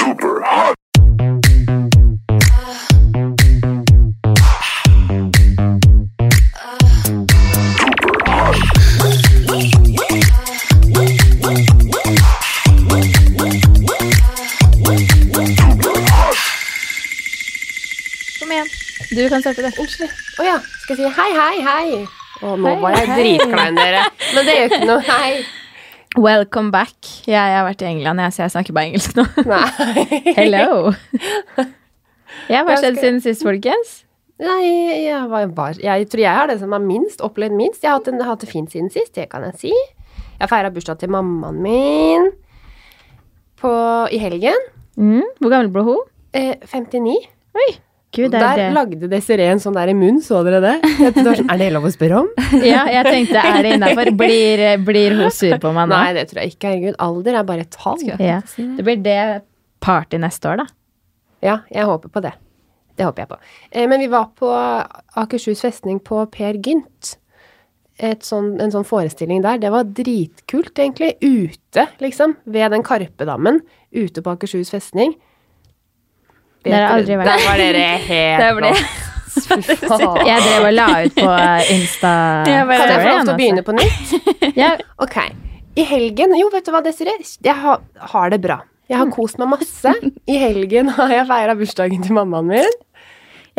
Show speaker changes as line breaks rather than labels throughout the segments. super hot.
Kom igjen. Du kan starte det.
Unnskyld. Å ja. Skal jeg si hei, hei, hei? Å, nå
Hei,
var jeg
hei.
dritklein, dere. Men det gjør ikke noe. Hei.
Welcome back. Jeg, jeg har vært i England, jeg, så jeg snakker bare engelsk nå.
Nei.
Hello. Ja, hva har skjedd
Jeg skal-
siden sist, folkens?
Nei, jeg, var bare, jeg tror jeg er det som har minst, opplevd minst. Jeg har hatt, en, hatt det fint siden sist, det kan jeg si. Jeg feira bursdag til mammaen min på, i helgen.
Mm, hvor gammel ble hun?
Eh, 59.
Oi. Gud,
Og
det
der
er det.
lagde Desiree en sånn der i munn, så dere det? Jeg tenkte, det var sånn, er det lov å spørre om?
Ja, jeg tenkte, er det innafor? Blir, blir hun sur på meg nå?
Nei, det tror jeg ikke. Herregud, alder er bare et tall.
Ja. Det blir det party neste år, da.
Ja, jeg håper på det. Det håper jeg på. Eh, men vi var på Akershus festning på Per Gynt. Et sånn, en sånn forestilling der. Det var dritkult, egentlig. Ute, liksom. Ved den Karpedammen. Ute på Akershus festning.
Det har jeg aldri vært.
Der var dere helt
Der ble-
lost. Fy faen.
Jeg drev og la ut på Insta.
Jeg
storyen,
Kan jeg få
bare-
lov til
altså.
å begynne på nytt?
Ja,
Ok. I helgen Jo, vet du hva, Desiree? Jeg har, har det bra. Jeg
Mm.
har kost meg masse. I helgen har jeg feira bursdagen til mammaen min.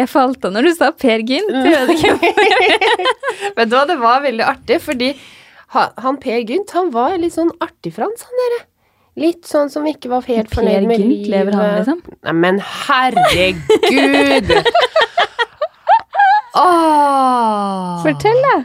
Jeg falt av når du sa Per Gynt. Jeg vet ikke om-
Vet du hva, det var veldig artig, fordi ha- han Per Gynt, han var litt sånn artig frans, han dere. Litt sånn som ikke var helt
Per
fornøyd med
Gynt,
livet.
lever han, liksom?
Nei, men herregud! Åh!
Fortell, da.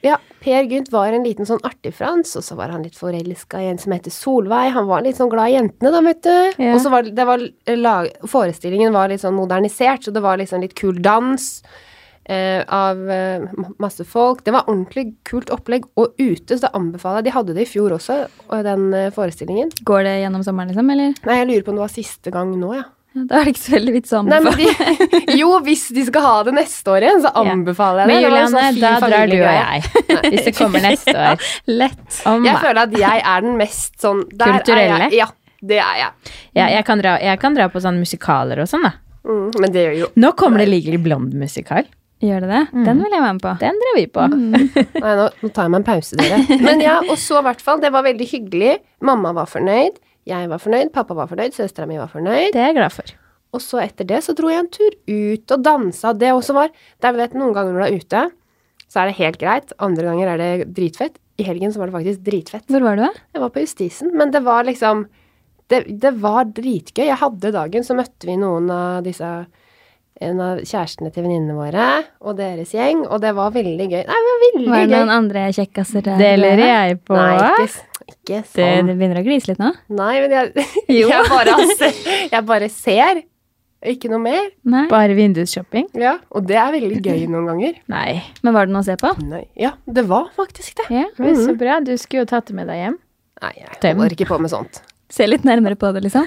Ja, Per Gynt var en liten sånn artig frans, og så var han litt forelska i en som heter Solveig. Han var litt sånn glad i jentene, da, vet du.
Ja.
Og så var det var eh, lag, Forestillingen var litt sånn modernisert, så det var liksom litt kul dans eh, av eh, ma- masse folk. Det var ordentlig kult opplegg, og ute, så det anbefaler jeg. De hadde det i fjor også, og den eh, forestillingen.
Går det gjennom sommeren, liksom? Eller?
Nei, jeg lurer på om det var siste gang nå, ja.
Ja, Da er det ikke så veldig vits å
Nei, men
anbefale.
de, jo, hvis de skal ha det neste år igjen, så anbefaler jeg det.
Men
Det var
Juliane,
en sånn fin
da drar du og
familiegreie.
jeg. Hvis det kommer neste år.
Lett.
Om
Jeg
meg.
føler at jeg er den mest sånn der
Mm. Kulturelle?
Er jeg, ja, det er jeg.
Ja, jeg, kan dra, jeg kan dra på sånne musikaler og sånn, da.
Mm, men det gjør jo
Nå kommer det Legally Blonde-musikal.
Gjør det det? Den vil jeg være med på.
Den drar vi på.
Mm.
Nei, nå, nå tar jeg meg en pause, dere. Men ja, og så i hvert fall. Det var veldig hyggelig. Mamma var fornøyd. Jeg var fornøyd, pappa var fornøyd, søstera mi var fornøyd.
Det er jeg glad for.
Og så etter det så dro jeg en tur ut og dansa. Det også var Der vet du, noen ganger når du er ute, så er det helt greit. Andre ganger er det dritfett. I helgen så var det faktisk dritfett.
Hvor var du, da?
Jeg var på Justisen, men det var liksom det, det var dritgøy. Jeg hadde dagen, så møtte vi noen av disse En av kjærestene til venninnene våre og deres gjeng, og det var veldig gøy. Nei, det var veldig
Var det
gøy.
noen andre kjekkaser der?
Deler jeg på.
Nei, ikke, s- ikke
Det,
sånn.
det begynner å glise litt nå?
Nei, men jeg,
Jo.
jeg, bare, ser- jeg bare ser. Ikke noe mer.
Nei.
Bare vindusshopping?
Ja, og det er veldig gøy noen ganger.
Nei.
Men var det noe å se på?
Nei, ja, det var faktisk det.
Ja.
Men så bra. Du skulle jo tatt det med deg hjem.
Nei, jeg
Dem.
holder ikke på med sånt.
Se litt nærmere på det, liksom.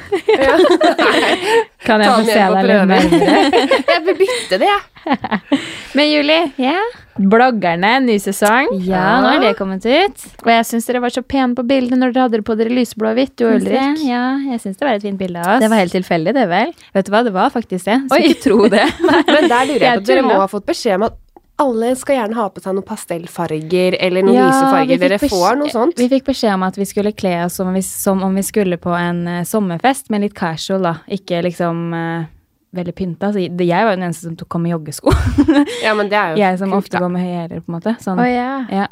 Kan jeg
Ta
få
den
se
igjen på
deg litt
prøver.
nærmere?
Jeg vil bytte det, jeg.
Men Juli,
Ja,
bloggerne, ny sesong.
nå er det kommet ut.
Og jeg syns dere var så pene på bildet når dere hadde det på dere lysblå og hvitt. Du og Ulrik.
Ja, jeg syns det var et fint bilde av oss.
Det var helt tilfeldig, det vel?
Vet du hva, det var faktisk det. Skulle ikke tro det.
Men der lurer jeg
Jeg
på at dere må
tuller.
ha fått beskjed om at alle skal gjerne ha på seg noen pastellfarger eller noen
Ja,
lyse
vi
farger.
fikk
Dere
besk-
får noe sånt.
Vi fikk beskjed om at vi skulle kle oss som om vi, som om vi skulle på en eh, sommerfest, men litt casual, da. Ikke liksom eh, veldig pynta. Så jeg det- jeg var jo den eneste som tok, kom med joggesko.
Ja, men det er jo
jeg som
kult,
ofte går med høye hæler, på en måte. Sånn.
Å ja.
ja.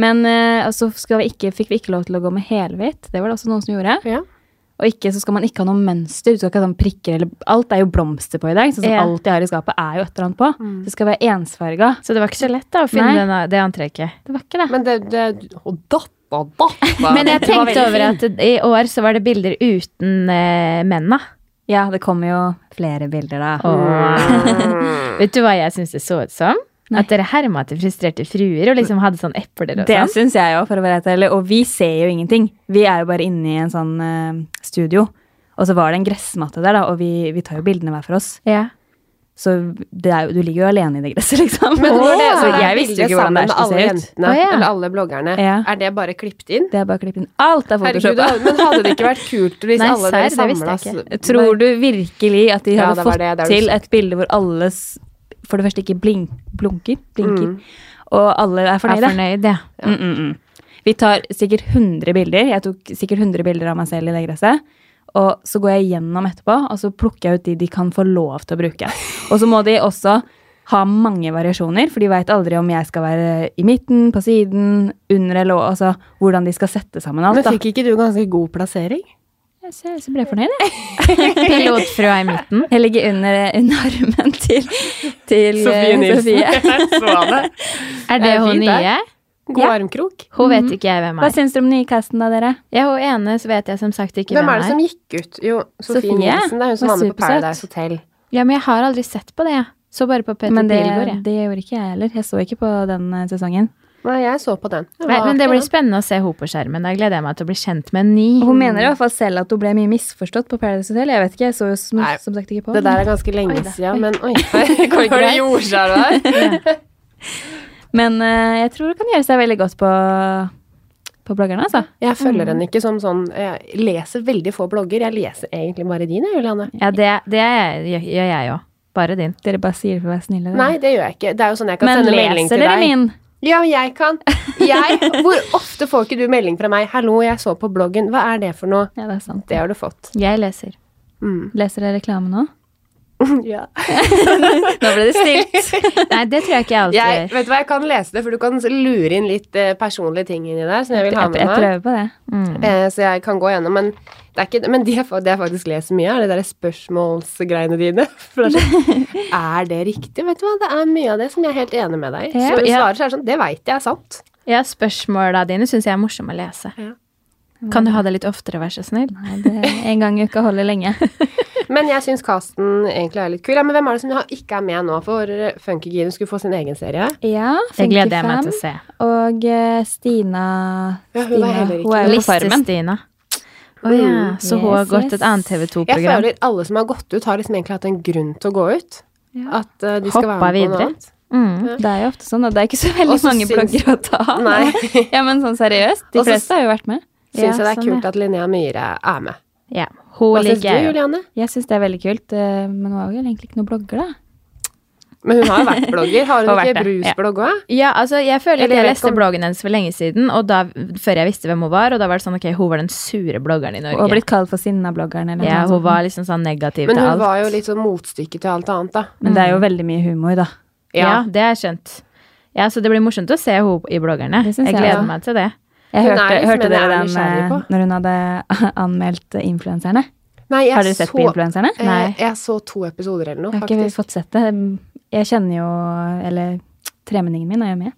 Men eh, og så skal vi ikke, fikk vi ikke lov til å gå med helhvitt. Det var det også noen som gjorde.
da. Ja.
Og ikke, så skal man ikke ha noe mønster. Du skal ikke ha sånn prikker eller Alt er jo blomster på i dag. Sånn som
Ja.
alt jeg har i skapet, er jo et eller annet på.
Mm.
Det skal være ensfarga.
Så det var ikke så lett da å finne
Nei.
denne, det antrekket.
Det var ikke det.
Men det, det Og datta, datta!
Men jeg
det var
tenkte
veldig
over at i år så var det bilder uten eh, mennene.
Ja, det kommer jo flere bilder da.
Og- Vet du hva jeg syns det så ut som?
Nei.
At dere herma til frustrerte fruer og liksom hadde sånn epler og
Det
sånn.
syns jeg jo, for å være helt ærlig. Og vi ser jo ingenting. Vi er jo bare inne i en sånn eh, studio. Og så var det en gressmatte der, da, og vi, vi tar jo bildene hver for oss.
Ja.
Så det er, jo- du ligger jo alene i det gresset, liksom.
Men når det,
Så
når det
jeg
er
visste jo
bildet
ikke hvordan
sammen
det
med
her
alle
skulle se ut.
jentene,
Å, ja.
eller alle bloggerne,
Ja.
er det bare klippet inn?
Det er bare å klippe inn. Alt er
Herregud,
photoshoppa.
men hadde det ikke vært kult hvis
Nei,
alle dere
serr, det visste
samla
jeg
Tror du virkelig at de
Ja,
hadde
det var det,
fått
det er du
til
sikker.
et bilde hvor alle s- for det første ikke blink, blunker, blinker,
Mm.
og alle er
Jeg er
fornøyde?
fornøyd, ja.
Mm, mm, mm. Vi tar sikkert 100 bilder. Jeg tok sikkert 100 bilder av meg selv i det gresset. Og så går jeg gjennom etterpå, og så plukker jeg ut de de kan få lov til å bruke. Og så må de også ha mange variasjoner, for de veit aldri om jeg skal være i midten, på siden, under eller over. Altså hvordan de skal sette sammen alt.
Men
Da.
fikk ikke du ganske god plassering?
Jeg ser- så ble jeg fornøyd, jeg.
Pilotfrua i midten.
Jeg ligger under, under armen til, til eh, Sofie.
Er det
Det er
hun
fint, det.
nye?
God armkrok.
Hun vet ikke jeg hvem
Hva
er.
syns dere om den nye casten, da, dere?
Ja, hun ene så vet jeg som sagt ikke hvem,
Hvem er det som gikk ut? Jo, Sofie,
Sofie
Nielsen. Det er hun som
var
var med på
supersøt.
Paradise Hotel.
Ja, men jeg har aldri sett på det, jeg. Så bare på Peter
Men det,
Pilgaard, jeg.
det gjorde ikke jeg heller. Jeg så ikke på den eh, sesongen.
Nei, jeg så på den. Det
Nei,
var
men det
artig,
blir
da.
spennende å se henne på skjermen. Da gleder jeg meg til å bli kjent med en ny.
Hun
Mm.
mener i hvert fall selv at hun ble mye misforstått på Paradise Hotel. Jeg vet ikke, jeg så jo som,
Nei,
som sagt ikke på.
Det der er ganske lenge
Oi da.
siden, men oi, går det
greit?
jordskjelv der?
Men eh, jeg tror hun kan gjøre seg veldig godt på, på bloggerne, altså.
Jeg følger henne ikke som sånn Jeg leser veldig få blogger. Jeg leser egentlig bare din, jeg, Juliane.
Ja, det, det gjør gjør jeg òg. Bare din.
Dere bare sier det for å være snille. dere.
Nei, det gjør jeg ikke. Det er jo sånn jeg kan
Men
sende melding
leser
til
dere
deg.
min?
Ja, jeg kan. Jeg, hvor ofte får ikke du melding fra meg? 'Hallo, jeg så på bloggen. Hva er det for noe?'
Ja, det er sant.
Det har du fått.
Jeg leser.
Mm.
Leser dere reklame nå?
Ja.
Nå ble det stilt.
Nei, det tror jeg ikke jeg alltid
Jeg,
gjør.
vet du hva, jeg kan lese det, for du kan lure inn litt eh, personlige ting inni der som jeg vil ha
Jeg,
med
jeg
meg.
prøver på det.
Mm.
Eh, så jeg kan gå gjennom, men det er ikke Men det, jeg fa- det jeg faktisk leser mye, er de derre spørsmålsgreiene dine. For det er, sånn, er det riktig? Vet du hva, det er mye av det som jeg er helt enig med deg i.
Ja,
Så
ja.
svaret så er det sånn Det veit jeg er sant.
Ja, spørsmåla dine syns jeg er morsomme å lese.
Ja.
Kan du ha det litt oftere, vær så snill?
Nei, det en gang i uka holder lenge.
Men jeg syns casten egentlig er litt kul. Ja, men hvem er det som ikke er med nå? For eh, Funkygine skulle få sin egen serie.
Ja,
Det gleder jeg meg til å se.
Og eh, Stina,
Ja,
Stina
hun er heller ikke
Hun er jo på farmen.
Liste-Stina. Å ja, så hun har
Yes,
gått
yes.
et annet
Jeg
TV2-program.
føler alle som har gått ut, har liksom egentlig hatt en grunn til å gå ut. At eh, de skal
Hoppa
være med på
videre.
noe annet.
Mm.
Det er jo ofte sånn, og det er ikke så veldig
Og så
mange
syns-
blogger å ta. av.
Nei.
ja, men sånn seriøst, de
Og så-
fleste har jo vært med.
Syns
Ja,
jeg det er
sånn,
kult at Linnea Myhre er med.
Ja. Hun
Hva syns
liker
du,
jeg jo.
Juliane?
Jeg syns det er veldig kult, eh, men hun var jo egentlig ikke noen blogger, da.
Men hun har jo vært blogger. Har
Har
hun
vært
ikke
det,
brusblogg òg?
Ja, altså, jeg føler at
Eller
jeg
jeg vet ikke
leste
om-
bloggen hennes for lenge siden, og da, før jeg visste hvem hun var, og da var det sånn, ok, hun var den sure bloggeren i
Og
Norge.
blitt kalt for Sinna-bloggeren eller
Ja, hun
noe sånt.
var liksom sånn negativ
Men
til
hun
alt.
var jo litt sånn motstykke til alt annet, da.
Men det er jo veldig mye humor, da.
Ja. det har jeg skjønt. Ja, så det blir morsomt å se henne i bloggerne.
Det
Jeg,
syns jeg,
gleder
ja.
meg til det.
Jeg
Hun er
hørte,
liksom
hørte
en jeg
dere
er
den
nysgjerrig
eh,
på.
når hun hadde anmeldt eh, influenserne?
Nei, jeg
Har dere sett
så,
på influenserne?
eh,
Nei.
Jeg så to episoder eller noe,
Jeg har ikke
faktisk.
fått sett det. Jeg kjenner jo Eller tremenningen min er jo med.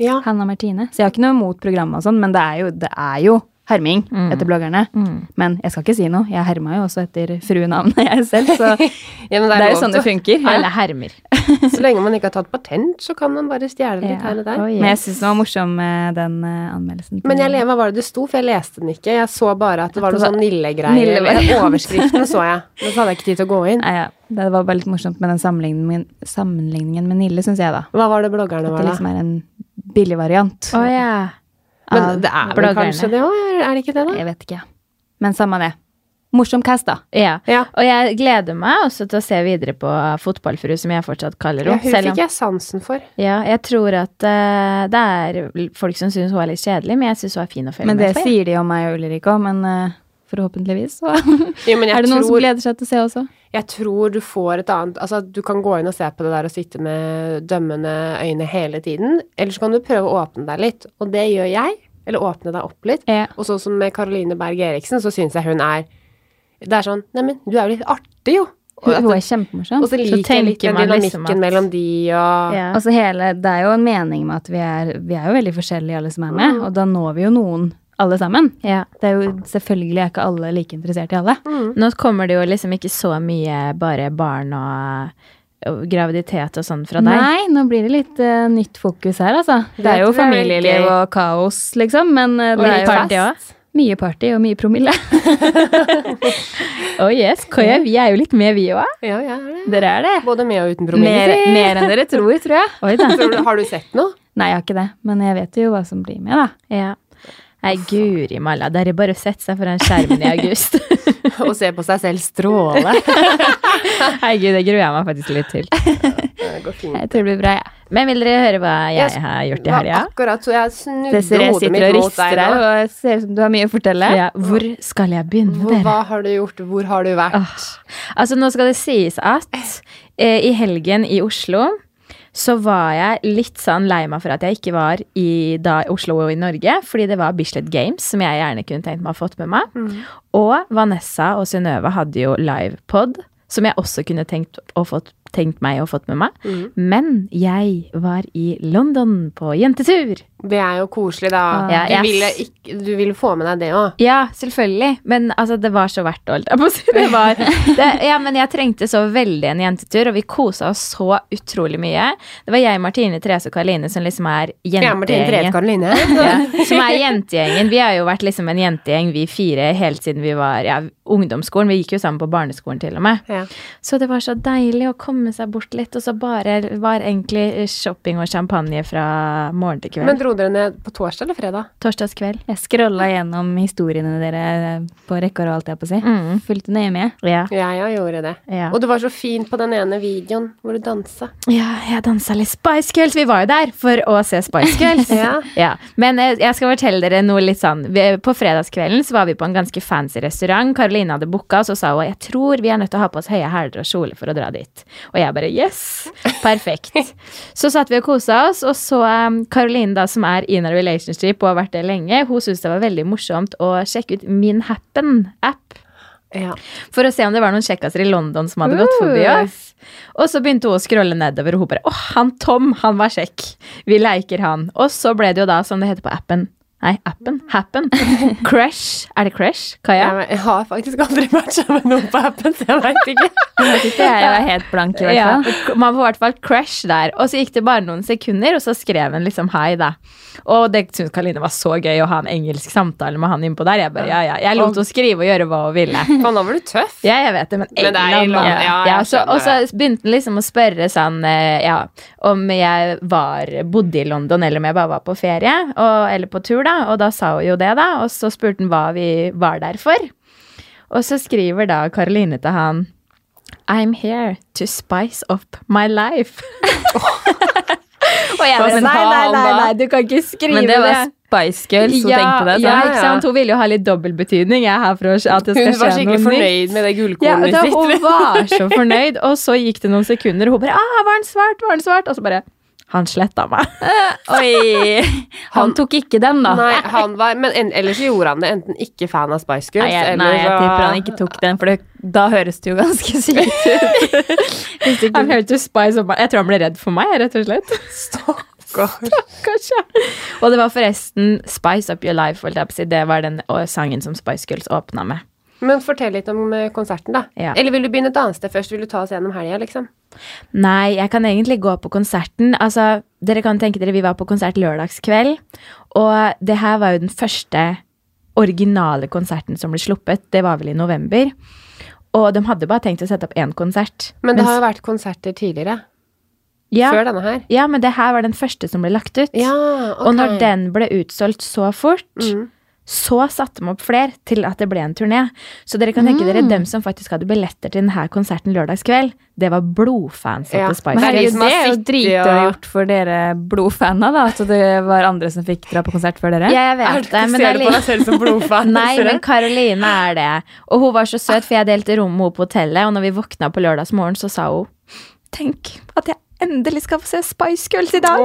Ja.
Hanna Martine. Så jeg har ikke noe mot programmet og sånn, men det er jo, det er jo herming
Mm.
etter bloggerne. Men jeg skal ikke si noe. Jeg herma jo også etter fruenavnet jeg selv, så
Ja, men
det er jo
lov
sånn
til
det funker. Ja.
Alle hermer.
å- Så lenge man ikke har tatt patent, så kan man bare stjele litt
Ja.
her og der.
Oi.
Men jeg syns den var morsom, eh, den eh, anmeldelsen. til-
Men jeg, le- hva var det det sto? For jeg leste den ikke. Jeg så bare at det var
At
noe
det
sånn
var-
Nille-greier.
Nille
eller
variant.
Overskriften så jeg, men så hadde jeg ikke tid til å gå inn.
Nei, ja. Det var bare litt morsomt med den sammenligningen, min, sammenligningen med Nille, syns jeg, da.
Hva var det bloggerne
At
var,
det
da?
liksom er en billig variant.
Å ja.
Men det er vel
bloggerne.
kanskje det òg, er det ikke det, da?
Jeg vet ikke. Men samme det. Morsom cast, da.
ja.
Ja.
Og jeg gleder meg også til å se videre på fotballfru, som jeg fortsatt kaller
Ja,
henne.
hun
selv om-
fikk jeg sansen for.
Ja, jeg tror at eh, det er folk som syns hun er litt kjedelig, men jeg syns hun er fin å følge
Men det
med på. jeg.
sier de om meg og Ulrik òg, men eh, forhåpentligvis så
Jo, men jeg
er det noen som
tror-
gleder seg til å se også.
Jeg tror du får et annet Altså, du kan gå inn og se på det der og sitte med dømmende øyne hele tiden. Eller så kan du prøve å åpne deg litt, og det gjør jeg. Eller åpne deg opp litt.
Ja.
Og sånn som med Caroline Berg Eriksen, så syns jeg hun er Det er sånn Neimen, du er jo litt artig, jo. Og,
Hun,
at,
hun er kjempemorsom.
og så liker jeg
tenker
litt den
man
dynamikken
liksom at-
mellom de og
Ja.
Altså hele, det er jo en mening med at vi er, vi er jo veldig forskjellige alle som er med,
Mm.
og da når vi jo noen alle sammen.
Ja.
Det er jo selvfølgelig er ikke alle like interessert i alle.
Nå kommer det jo liksom ikke så mye bare barn og, og graviditet og sånn fra deg.
Nei, nå blir det litt eh, nytt fokus her, altså. Det
Det
er
tror jeg er
jo
veldig
familieliv
gøy.
og kaos, liksom, men eh,
Og
det er
litt
jo
party også.
Mye party og mye promille.
Oh yes, Koya, vi er jo litt med, vi òg.
Ja, jeg er det.
Dere er det.
Både med og uten
Mer,
promille.
mer enn dere tror, tror jeg.
Oi da.
Tror du- Har du sett noe?
Nei, jeg har ikke det. Men jeg vet jo hva som blir med, da.
Ja. Nei, guri malla. Det er bare å sette seg foran skjermen i august.
Å se på seg selv stråle.
Herregud, det gruer jeg meg faktisk litt til.
Det går fint.
Jeg tror det blir bra, jeg.
Men vil dere høre hva jeg
Jeg
har gjort i
var
helga?
Akkurat så jeg snudde
Desiree
hodet
sitter
mitt
og
mot
rister
deg
her
nå.
og ser ut som du har mye å fortelle.
Ja, hvor skal jeg begynne,
Hvor,
dere?
hva har du gjort? Hvor har du vært?
Altså, nå skal det sies at eh, i helgen i Oslo så var jeg litt sånn lei meg for at jeg ikke var i da, Oslo og i Norge, fordi det var Bislett Games, som jeg gjerne kunne tenkt meg å ha fått med meg. Og Vanessa og Synnøve hadde jo livepod, som jeg også kunne tenkt, å fått, tenkt meg å fått med meg. Men jeg var i London på jentetur.
Det er jo koselig, da.
Ah. Ja, yes.
du, ville ikke, du ville få med deg det òg.
Ja, selvfølgelig. Men altså, det var så verdt det, holdt jeg på å si. Det var, det, ja, men jeg trengte så veldig en jentetur, og vi kosa oss så utrolig mye. Det var jeg, Martine, Therese og Karoline som liksom er
Jeg er Martine Therese
jentegjengen.
Karoline.
Ja, som er jentegjengen. Vi har jo vært liksom en jentegjeng, vi fire, helt siden vi var ja, ungdomsskolen. Vi gikk jo sammen på barneskolen til og med.
Ja.
Så det var så deilig å komme seg bort litt, og så bare var egentlig shopping og champagne fra morgen til
Men
kveld.
dro dere ned på torsdag eller fredag?
Torsdagskveld.
Jeg scrolla gjennom historiene dere eh, på rekke og rad, alt jeg på å si.
Mm.
Fulgte nøye med.
Ja.
Ja, jeg gjorde det.
Ja.
Og det var så fint på den ene videoen hvor du dansa.
Ja, jeg dansa litt Spice Girls. Vi var jo der for å se Spice Girls.
Ja.
Men eh, jeg skal fortelle dere noe litt sånn. Vi- På fredagskvelden så var vi på en ganske fancy restaurant. Karoline hadde booka, og så sa hun jeg tror vi er nødt til å ha på oss høye hæler og kjole for å dra dit. Og jeg bare yes! Perfekt. Så satt vi og kosa oss, og så um, Karoline, da, som er in a relationship og har vært det lenge, hun syntes det var veldig morsomt å sjekke ut Min Happen-app
Ja.
for å se om det var noen kjekkaser i London som hadde gått forbi
Uh.
oss. Og så begynte hun å scrolle nedover, og hun bare Å, han Tom, han var kjekk. Vi leker han. Og så ble det jo da, som det heter på appen Nei, appen? Happen? Crush? Er det Crush? Kaja?
Jeg, jeg har faktisk aldri matcha med noen på appen, så jeg veit ikke.
Jeg var helt blank, i hvert
Ja,
fall.
man får i hvert fall crash der. Og så gikk det bare noen sekunder, og så skrev han liksom hei, da. Og det syntes Karoline var så gøy å ha en engelsk samtale med han innpå der. Jeg bare, ja, ja. Jeg lot henne skrive og gjøre hva hun ville.
Faen, da var du tøff.
Ja, jeg vet det, men,
Men det er i
England,
London,
da.
ja, jeg
så,
skjønner
Og så begynte han liksom å spørre sånn eh, Ja, om jeg var, bodde i London, eller om jeg bare var på ferie, og, eller på tur, da. Og da sa hun jo det, da. Og så spurte han hva vi var der for. Og så skriver da Karoline til han I'm here to spice up my life. og sånn, jeg bare
Men
Nei, nei, nei,
han da?
nei, du kan ikke skrive
Men det var Spice Girls som
ja,
tenkte det.
ja,
sant?
sånn. ikke sant? Hun ville jo ha litt dobbeltbetydning. Jeg er her for å- at det skal
Hun var
skje noe
skikkelig
nytt.
fornøyd med det
Ja,
gullkornet
da,
sitt.
hun var så fornøyd, og så gikk det noen sekunder, og hun bare ah, 'Var han svart? Var han svart?' Og så bare Han sletta meg.
Oi! Han
Han-
tok ikke den, da.
Nei, han var, men en, ellers så gjorde han det enten ikke fan av Spice Girls,
Nei, jeg, nei,
eller
jeg tipper han ikke tok den, for det, da høres det jo ganske sykt ut. Hvis ikke
I'm here to spy so much. Jeg tror han ble redd for meg, rett og slett.
Stakkar.
Kanskje. Og det var forresten 'Spice Up Your Life'. holdt jeg på å si. Det var den å, sangen som Spice Girls åpna med.
Men fortell litt om eh, konserten, da.
Ja.
Eller vil du begynne et annet sted først? Vil du ta oss gjennom helga, liksom?
Nei, jeg kan egentlig gå på konserten. Altså, dere kan tenke dere, Vi var på konsert lørdagskveld, og det her var jo den første originale konserten som ble sluppet. Det var vel i november. Og de hadde bare tenkt å sette opp én konsert.
Men det
Mens-
har jo vært konserter tidligere.
Ja.
Før denne her.
Ja, men det her var den første som ble lagt ut.
Ja, ok. Mm.
Og når den ble utsolgt så fort, så satte de opp flere til at det ble en turné. Så dere kan tenke
Mm.
dere, dem som faktisk hadde billetter til denne konserten lørdagskveld, det var blodfans
Ja,
av
men
Spice
herregud,
Girls.
Herregud,
som
det
har
er jo
sittet
dritbra
og-
gjort for dere blodfana, da. At det var andre som fikk dra på konsert før dere.
Ja, jeg
Er
vet
du
det, men
ikke ser
det er
du på deg selv som blodfan?
Nei, men Karoline er det. Og hun var så søt, for jeg delte rom med henne på hotellet, og når vi våkna på lørdagsmorgen, så sa hun Tenk at jeg endelig skal få se Spice Girls i dag!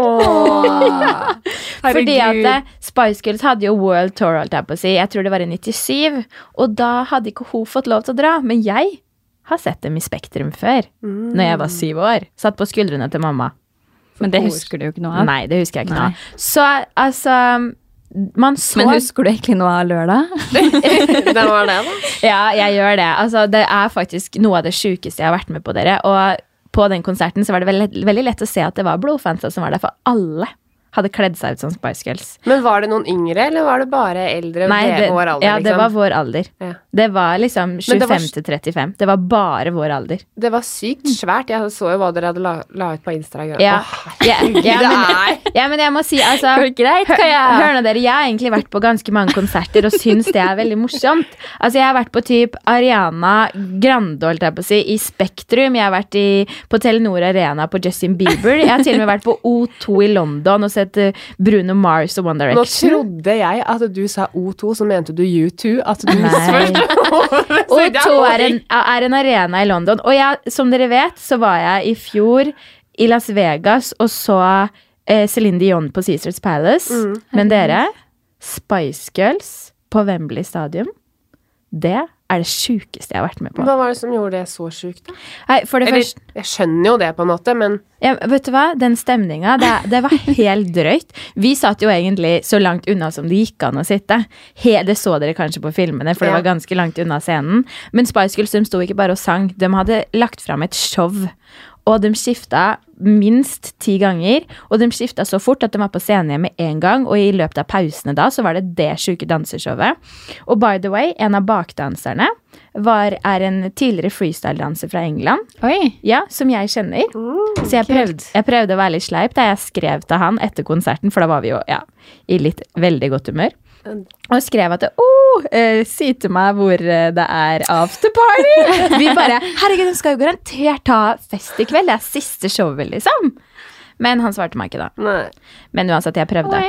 Fordi at eh, Spice Girls hadde jo World Tour, holdt jeg på å si. Jeg tror det var i 97. Og da hadde ikke hun fått lov til å dra. Men jeg har sett dem i Spektrum før. Når jeg var
Mm.
syv år. Satt på skuldrene til mamma.
Men det husker du jo ikke noe av.
Nei, det husker jeg ikke noe
Nei.
av. Så altså Man så
Men husker du egentlig noe av lørdag?
Den var det, da.
Ja, jeg gjør det. Altså, det er faktisk noe av det sjukeste jeg har vært med på dere. Og på den konserten så var det veldig, veldig lett å se at det var blodfansa som var der, for alle hadde kledd seg ut som Spice Girls.
Men var det noen yngre, eller var det bare eldre?
Nei,
det,
det,
vår alder,
ja, det
liksom?
var vår alder.
Ja.
Det var liksom
Men
25
det var-
til 35. Det var bare vår alder.
Det var sykt svært. Jeg så jo hva dere hadde la, la ut på Instagram.
Ja,
Åh,
ja, ja, men,
det er
ja men jeg må si, altså
Går det greit,
hør,
Kaja?
hør nå dere, Jeg har egentlig vært på ganske mange konserter og syns det er veldig morsomt. Altså Jeg har vært på typ Ariana Grande holdt jeg på å si, i Spektrum. Jeg har vært i, på Telenor Arena på Justin Bieber. Jeg har til og med vært på O2 i London og sett eh, Bruno Mars og One
Nå
Direction.
trodde jeg at du sa O2, så mente du U2. At du
Nei. O2 er en, er en arena i London. Og jeg, som dere vet, så var jeg i fjor i Las Vegas og så eh, Celine Dion på Caesars Palace.
Mm.
Men dere, Spice Girls på Wembley Stadium, det er det sjukeste jeg har vært med på.
Hva var det som gjorde det så sjukt, da?
Nei, for det
Eller,
første
jeg skjønner jo det, på en måte, men
ja, vet du hva? Den stemninga, det, det var helt drøyt. Vi satt jo egentlig så langt unna som det gikk an å sitte. He, det så dere kanskje på filmene, for det
Ja.
var ganske langt unna scenen. Men Spice Girls de sto ikke bare og sang, de hadde lagt fram et show. Og de skifta minst ti ganger, og de skifta så fort at de var på scenen igjen med en gang. Og i løpet av pausene da, så var det det sjuke danseshowet. Og by the way, en av bakdanserne var, er en tidligere freestyle-danser fra England.
Oi.
Ja, som jeg kjenner. så jeg prøvde, jeg prøvde å være litt sleip da jeg skrev til han etter konserten, for da var vi jo ja, i litt veldig godt humør. Og skrev at oh, eh, si til meg hvor eh, det er afterparty! Vi bare Herregud, hun skal jo garantert ha fest i kveld! Det er siste showet, liksom. Men han svarte meg ikke da.
nei.
Men uansett, jeg prøvde.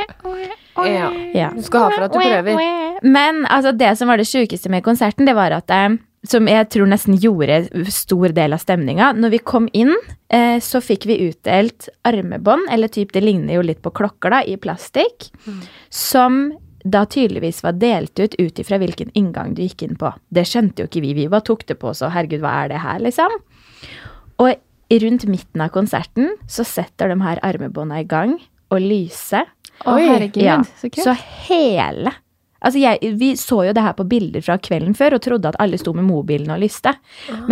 Ja.
Ja.
Du skal ha for at du prøver.
Men altså, det som var det sjukeste med konserten, det var at eh, som jeg tror nesten gjorde stor del av stemninga. Når vi kom inn, eh, så fikk vi utdelt armebånd, eller typ, det ligner jo litt på klokker, da, i plastikk.
Mm.
Som da tydeligvis var delt ut ut ifra hvilken inngang du gikk inn på. Det skjønte jo ikke vi. Vi bare tok det på oss og herregud, hva er det her, liksom? Og rundt midten av konserten så setter de her armebånda i gang og lyser.
Å,
Oi.
herregud, så kult.
Så hele Altså jeg, Vi så jo det her på bilder fra kvelden før og trodde at alle sto med mobilen og lyste.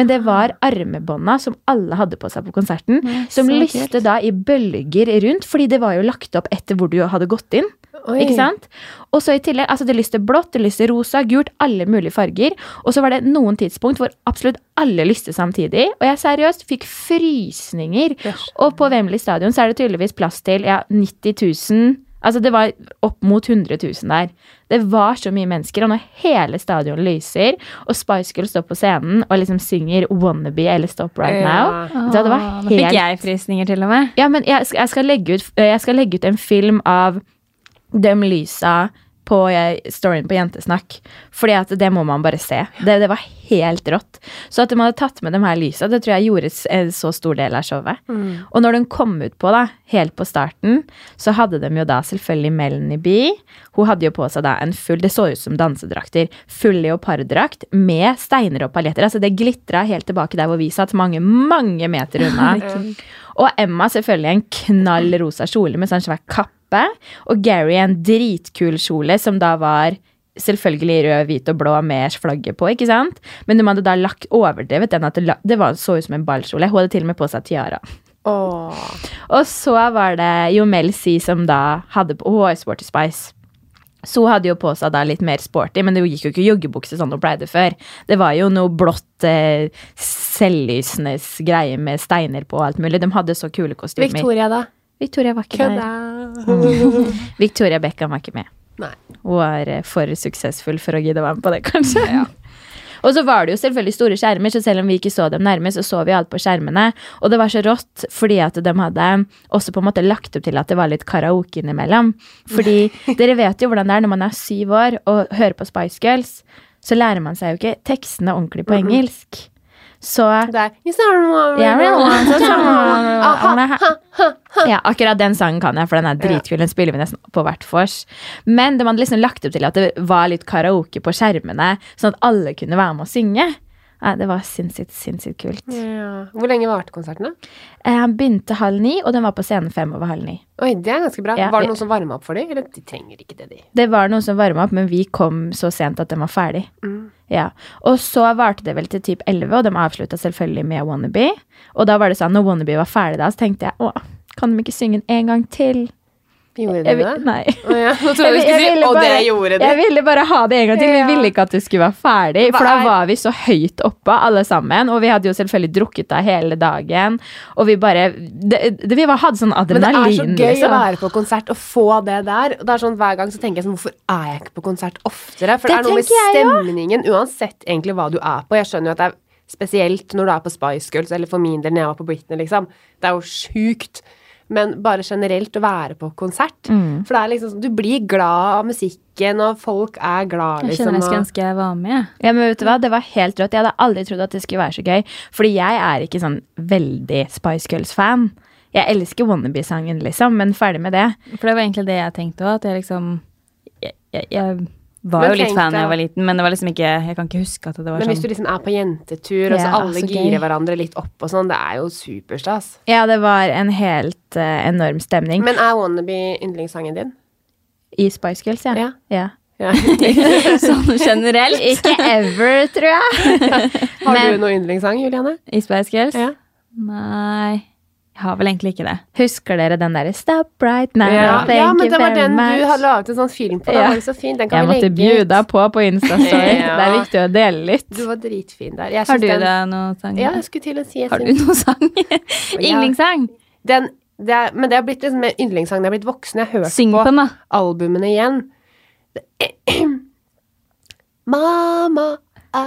Men det var armebånda som alle hadde på seg på konserten,
Ah. Nei,
som
så
lyste
kult.
da i bølger rundt, fordi det var jo lagt opp etter hvor du hadde gått inn.
Oi.
Ikke sant? Og så i tillegg, altså Det lyste blått, det lyste rosa, gult, alle mulige farger. Og så var det noen tidspunkt hvor absolutt alle lyste samtidig. Og jeg seriøst fikk frysninger.
Jøss.
Og på Wembley stadion så er det tydeligvis plass til ja, 90 000. Altså det var opp mot 100 000 der. Det var så mye mennesker, og når hele stadion lyser, og Spice Girls står på scenen og liksom synger 'Wannabe' eller 'Stop Right
Ja.
Now' da, Det var
Åh,
helt
Nå fikk jeg frysninger til og med.
ja, men jeg skal, jeg, skal legge ut, eh, jeg skal legge ut en film av dem lysa på eh, storyen på Jentesnakk. Fordi at det må man bare se. Det, det var helt rått. Så at de hadde tatt med de her lysa, det tror jeg gjorde s- en så stor del av showet. Og når de kom ut på, da, helt på starten, så hadde de jo da selvfølgelig Melanie B. Hun hadde jo på seg da en full, det så ut som dansedrakter, full leoparddrakt med steiner og paljetter. Altså det glitra helt tilbake der hvor vi satt, mange, mange meter unna. Og Emma selvfølgelig en knall rosa kjole med sånn svær kappe. Og Gary en dritkul kjole som da var selvfølgelig rød, hvit og blå med flagget på. ikke sant? Men de hadde da lagt overdrevet den at det, la, det var, så ut som en ballkjole. Hun hadde til og med på seg tiara.
Åh.
Og så var det Jomel Si som da hadde på Hun var jo Sporty Spice. Så hun hadde jo på seg da litt mer sporty, men det gikk jo ikke joggebukse sånn hun pleide før. Det var jo noe blått, eh, selvlysende greie med steiner på og alt mulig. De hadde så kule kostymer.
Victoria, da?
Victoria var ikke
Kødda!
der. Victoria Beckham var ikke med.
Nei.
Hun var eh, for suksessfull for å gidde å være med på det, kanskje. Og så var det jo selvfølgelig store skjermer, så selv om vi ikke så dem nærme, så så vi alt på skjermene. Og det var så rått, fordi at de hadde også på en måte lagt opp til at det var litt karaoke innimellom. Fordi dere vet jo hvordan det er når man er syv år og hører på Spice Girls, så lærer man seg jo ikke tekstene ordentlig på engelsk. Så
Det er You sound warm.
ja, men-
Aha.
ja, akkurat den sangen kan jeg, for den er dritkul. Den spiller vi nesten på hvert vors. Men de hadde liksom lagt opp til at det var litt karaoke på skjermene, sånn at alle kunne være med å synge. Nei, det var sinnssykt, sinnssykt kult.
Ja. Hvor lenge varte konserten, da?
Eh, Han begynte halv ni, og den var på scenen fem over halv ni.
Oi, det er ganske bra.
Ja,
Var det
vi-
noen som varma opp for dem? Eller de trenger ikke det, de.
Det var noen som varma opp, men vi kom så sent at den var ferdig. Ja. Og så varte det vel til typ 11, og de avslutta selvfølgelig med Wannabe. Og da var det sånn, når Wannabe var ferdig da, så tenkte jeg åh, kan de ikke synge den en gang til?
Gjorde
Jeg
du
vil,
det?
nei.
Å ja, nå trodde jeg du
Jeg- jeg
skulle si
ville
'og det
bare-
gjorde
Jeg
du'.
ville bare ha det en gang til.
Ja.
Vi ville ikke at du skulle være ferdig, for
Hva
da
er-
var vi så høyt oppe, alle sammen. Og vi hadde jo selvfølgelig drukket deg hele dagen. Og vi bare det, det, Vi bare hadde sånn
Men det er så
adrenalin,
gøy å
liksom.
være på konsert og få det der. Og det er sånn Hver gang så tenker jeg sånn Hvorfor er jeg ikke på konsert oftere? For det,
Det
er noe med
tenker jeg
stemningen, uansett egentlig hva du er på. Jeg skjønner jo at det er spesielt når du er på Spice Girls, eller for min del når jeg var på Britney, liksom. Det er jo sjukt. Men bare generelt å være på konsert. For det er liksom sånn Du blir glad av musikken, og folk er glad,
Jeg
liksom.
kjenner jeg skulle
og-
ønske jeg var med.
Ja, men vet du hva? Det var helt rått. Jeg hadde aldri trodd at det skulle være så gøy. Fordi jeg er ikke sånn veldig Spice Girls-fan. Jeg elsker Wannabe-sangen, liksom, men ferdig med det.
For det var egentlig det jeg tenkte òg. At jeg liksom Jeg, jeg, jeg var
Men
jo litt
tenk
fan da
deg-
jeg var liten, men det var liksom ikke Jeg kan ikke huske at det var
Men hvis
sånn.
du liksom er på jentetur, og så
Ja,
alle
så gøy.
girer hverandre litt opp og sånn, det er jo superstas.
Ja, det var en helt eh, enorm stemning.
Men er Wannabe yndlingssangen din?
I Spice Girls, ja.
Ja.
ja.
Ja.
sånn generelt.
Ikke ever, tror jeg.
Har
Men-
du noen yndlingssang, Juliane?
I Spice Girls?
Ja.
Nei Jeg har vel egentlig ikke det.
Husker dere den derre Stop right now,
Ja,
thank
ja, men
you
det var
very
den
much.
du hadde laget en sånn film
Ja.
på. Den var jo så fin. Den kan
Jeg
vi
måtte
legge ut.
bjuda på på Insta-story.
Ja.
Det er viktig å dele litt.
Du var dritfin der. Jeg
Har
syns
du
den,
da noen sang?
Ja, jeg skulle til å si jeg
Har du
syns
noen sang? Yndlingssang?
den, det er, Men det har blitt liksom en yndlingssang. Det har blitt voksen. Jeg har hørt
Syng på
på
den, da.
albumene igjen. Mama,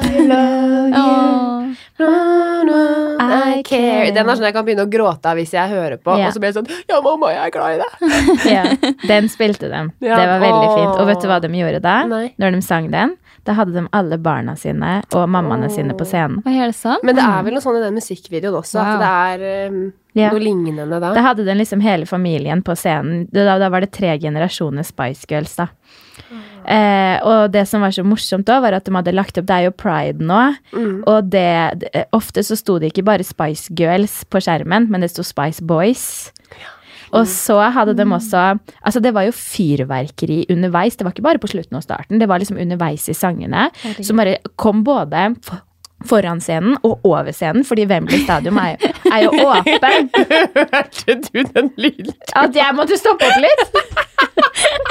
I love you.
Åh.
No, no, I
I
care.
care.
Den er sånn jeg kan begynne å gråte av hvis jeg hører på.
Ja.
Og så blir det sånn Ja, mamma, jeg er glad i deg.
Ja, den spilte de.
Ja.
Det var veldig
Åh.
fint. Og vet du hva de gjorde da?
Nei.
Når de sang den? Da hadde de alle barna sine og mammaene sine på scenen.
Hva er det sånn?
Men det er vel noe sånn i den musikkvideoen også,
Wow.
at det er um,
Ja.
noe lignende da.
Da hadde den liksom hele familien på scenen. Da, da var det tre generasjoner Spice Girls, da. Eh, og det som var så morsomt da, var at de hadde lagt opp Det er jo pride nå. Og det, det- ofte så sto det ikke bare Spice Girls på skjermen, men det sto Spice Boys. Og så hadde de også Altså, det var jo fyrverkeri underveis. Det var ikke bare på slutten og starten, det var liksom underveis i sangene. Som bare kom både f- foran scenen og over scenen, fordi Wembley Stadium er, jo- er jo åpen.
Hørte du den lyden?
At jeg måtte stoppe opp litt?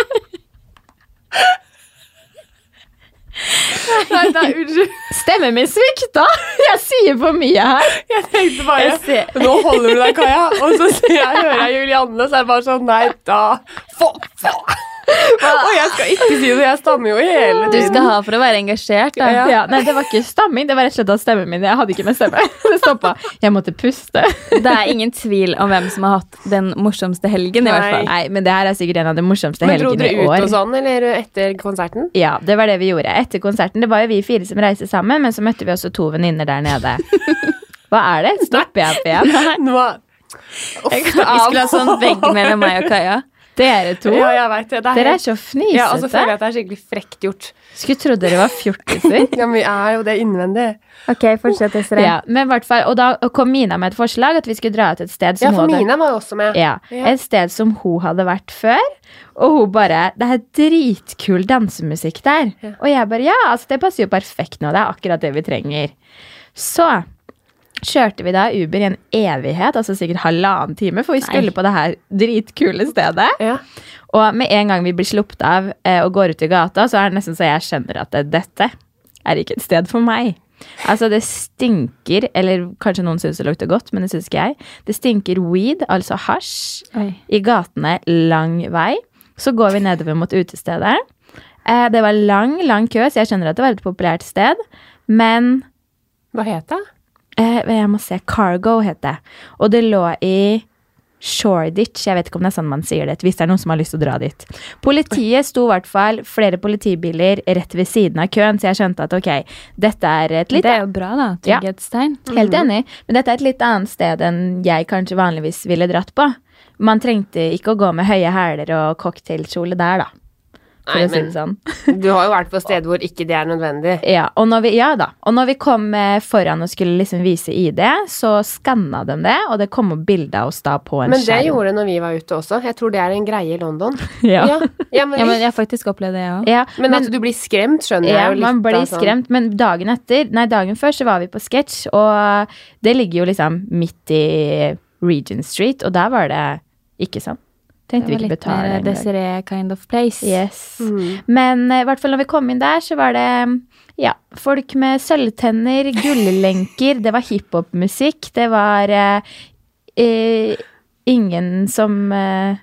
Nei, nei, unnskyld.
Stemmen min svikta! Jeg sier for mye her.
Jeg tenkte bare
Jeg ser-
Nå holder du deg, Kaja. Og så sier jeg, hører jeg Julianne, så er det bare sånn Nei, da Få, få. Og jeg skal ikke si det. Jeg stammer jo hele
Du skal ha for å være engasjert, da.
Ja, nei, Det var ikke stamming, det var rett og slett at stemmen min Jeg hadde ikke mer stemme. Det stoppet. Jeg måtte puste.
Det er ingen tvil om hvem som har hatt den morsomste helgen, i hvert fall.
Nei, Men det her er sikkert en av de morsomste
Men dro
helgene
dere
i
ut og
år.
sånn, eller etter konserten?
Ja, det var det vi gjorde. Etter konserten, Det var jo vi fire som reiste sammen, men så møtte vi også to venninner der nede. Hva er det? Stopper jeg opp igjen?
Nå er- Uff,
Vi skulle ha sånn vegg mellom meg og Kaja.
Dere to?
Ja, jeg vet det. Det
Dere
helt-
er så
ja, og så
fnisete.
føler jeg at det er skikkelig frekt gjort.
Skulle trodd dere var fjortiser.
Ja, men vi er jo det innvendig.
Ok, fortsett, Esra.
Ja, men i hvert fall, og da kom Mina med et forslag at vi skulle dra ut et sted som
Ja, for
hun hadde
mine var jo også med.
Ja,
Ja.
Et sted som hun hadde vært før. Og hun bare 'Det er dritkul dansemusikk der'. Og jeg bare 'Ja, altså, det passer jo perfekt nå. Det er akkurat det vi trenger'. Så kjørte vi da Uber i en evighet, altså sikkert halvannen time, for vi skulle på det her dritkule stedet.
Ja.
Og med en gang vi blir sluppet av eh, og går ut i gata, så er det nesten så jeg skjønner at det, dette er ikke et sted for meg. Altså, det stinker, eller kanskje noen syns det lukter godt, men det syns ikke jeg. Det stinker weed, altså hasj,
Oi.
i gatene lang vei. Så går vi nedover mot utestedet. Eh, det var lang, lang kø, så jeg skjønner at det var et populært sted, men
Hva het det?
Eh, jeg må se. Cargo het det. Og det lå i Shoreditch. Jeg vet ikke om det er sånn man sier det, hvis det er noen som har lyst til å dra dit. Politiet sto i hvert fall flere politibiler rett ved siden av køen, så jeg skjønte at ok, dette er et litt
Det er jo Mm. bra, da.
Ja.
Trygghetstegn.
Helt enig, men dette er et litt annet sted enn jeg kanskje vanligvis ville dratt på. Man trengte ikke å gå med høye hæler og cocktailkjole der, da. For
Nei,
å si
men-
det sånn.
Du har jo vært på steder hvor ikke det er nødvendig.
Ja, og når vi, ja da. Og når vi kom eh, foran og skulle liksom vise ID, så skanna de det, og det kom opp bilde av oss da på en
Men det
skjerm.
gjorde det når vi var ute også. Jeg tror det er en greie i London.
Ja.
Ja, ja, men,
Ja, men jeg har faktisk opplevd det, jeg òg.
Ja,
men,
men,
at du blir skremt, skjønner
ja,
jeg jo litt.
man blir
da, sånn.
skremt. Men dagen etter, nei, dagen før så var vi på sketsj, og det ligger jo liksom midt i Regent Street, og der var det ikke sånn. Tenkte vi
Det var
ikke
litt mer
betale engang.
Desiree kind of place.
Yes.
Mm.
Men eh, i hvert fall når vi kom inn der, så var det ja, folk med sølvtenner, gulllenker, det var hiphop-musikk, det var eh, eh, ingen som eh,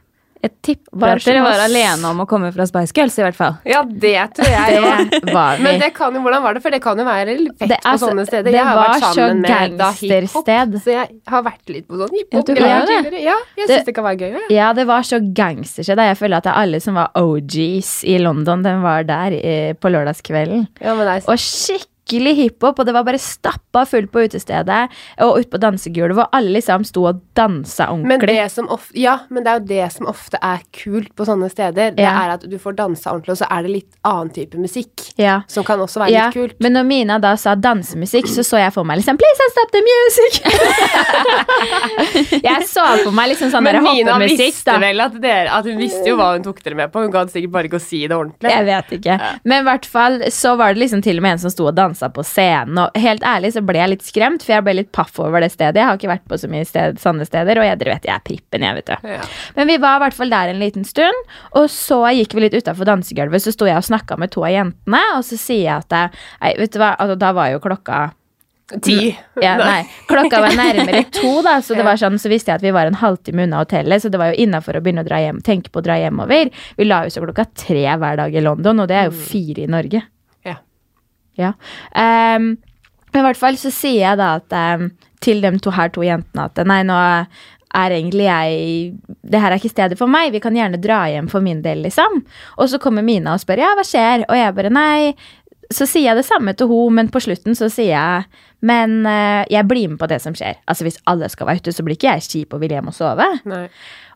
Jeg tipper
Bare at
at det
dere var alene om å komme fra Spice Girls, i hvert fall.
Ja, det tror jeg jo.
Det var vi.
Men det kan jo, hvordan var det? For det kan jo være litt fett
Det er
på
så-
sånne steder.
det
Jeg har
var
vært
så
sammen med da
gangstersted.
hiphop, så jeg har vært litt på sånn hiphop.
Ja, du
greier
var jo det.
tidligere. Ja, jeg
Det-
syns det kan være gøy òg, jeg.
Ja, det var så gangsterskjedd. Jeg føler at det er alle som var OGs i London, den var der eh, på lørdagskvelden.
Ja, men det er
Og skikkelig hiphop, og det var bare stappa fullt på utestedet og ute på dansegulvet, og alle liksom sto og dansa
Men
ordentlig.
det, som ofte, ja, men det er jo det som ofte er kult på sånne steder. Det
Ja.
er at du får dansa ordentlig, og så er det litt annen type musikk.
Ja.
Som kan også være
Ja,
litt kult.
men når Mina da sa dansemusikk, så så jeg for meg liksom Please don't stop the music! jeg så for meg liksom sånn der hoppemusikk, da.
vel at, dere, at hun visste jo hva hun tok dere med på. Hun gadd sikkert bare ikke å si det ordentlig.
Jeg vet ikke. Men i hvert fall så var det liksom til og med en som sto og dansa på scenen. Og helt ærlig så ble jeg litt skremt, for jeg ble litt paff over det stedet. Jeg har ikke vært på så mye sted, sanne steder, og jeg, dere vet jeg er prippen, jeg, vet du.
Ja.
Men vi var i hvert fall der en liten stund, og så gikk vi litt utafor dansegulvet. Så sto jeg og snakka med to av jentene, og så sier jeg at jeg, nei, vet du hva, altså, da var jo klokka
Ti.
ja, nei. Klokka var nærmere to, da, så, det var sånn, så visste jeg at vi var en halvtime unna hotellet. Så det var jo innafor å begynne å dra hjem, tenke på å dra hjemover. Vi la oss jo klokka tre hver dag i London, og det er jo fire i Norge.
Ja.
Ja. Ehm, men i hvert fall så sier jeg da at ehm, til de to her to jentene at nei, nå er egentlig jeg Det her er ikke stedet for meg. Vi kan gjerne dra hjem for min del, liksom. Og så kommer Mina og spør ja, hva skjer? Og jeg bare nei. Så sier jeg det samme til hun, men på slutten så sier jeg men eh, jeg blir med på det som skjer. Altså Hvis alle skal være ute, så blir ikke jeg kjip og vil hjem og sove.
Nei.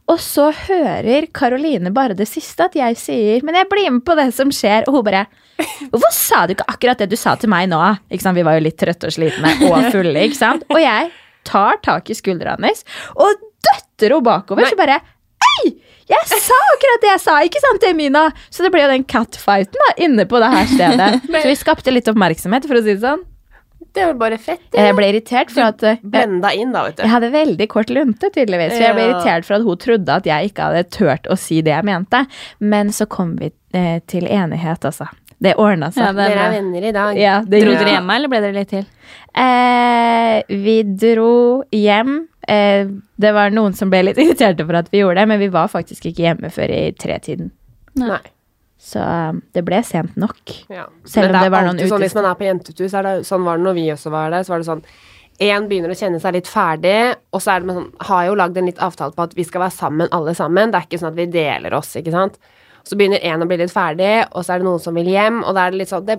Og så hører Karoline bare det siste at jeg sier Men jeg blir med på det som skjer Og hun bare Hvorfor sa du ikke akkurat det du sa til meg nå? Ikke sant? Vi var jo litt trøtte og slitne og fulle ikke sant? Og jeg tar tak i skuldra hennes Og døtter henne bakover Så bare Ei! Jeg sa akkurat det jeg sa, ikke sant det, Mina? Så det ble jo den catfighten da, inne på det her stedet Så vi skapte litt oppmerksomhet for å si det sånn
Det er jo bare fett. det.
Jeg ble irritert for at eh,
Blenda inn, da, vet du.
jeg hadde veldig kort lunte, tydeligvis. For jeg ble
Ja.
irritert for at hun trodde at jeg ikke hadde turt å si det jeg mente. Men så kom vi eh, til enighet, altså. Det ordna
Ja,
seg.
det er
Dere
bra.
er venner i dag.
Ja, det
Dro
gjorde
dere
vi.
hjemme, eller ble dere litt til?
Eh, vi dro hjem. Eh, det var noen som ble litt irriterte for at vi gjorde det, men vi var faktisk ikke hjemme før i tretiden.
Nei.
Så eh, det ble sent nok.
Ja.
Selv
Men
om det var noen
alltid sånn,
utest-
Hvis man er på jentetur, så er det sånn var det når vi også var der. Så var det sånn Én begynner å kjenne seg litt ferdig, og så er det med sånn, har jeg jo lagd en litt avtale på at vi skal være sammen, alle sammen. Det er ikke sånn at vi deler oss, ikke sant. Så begynner én å bli litt ferdig, og så er det noen som vil hjem, og da er det litt sånn det,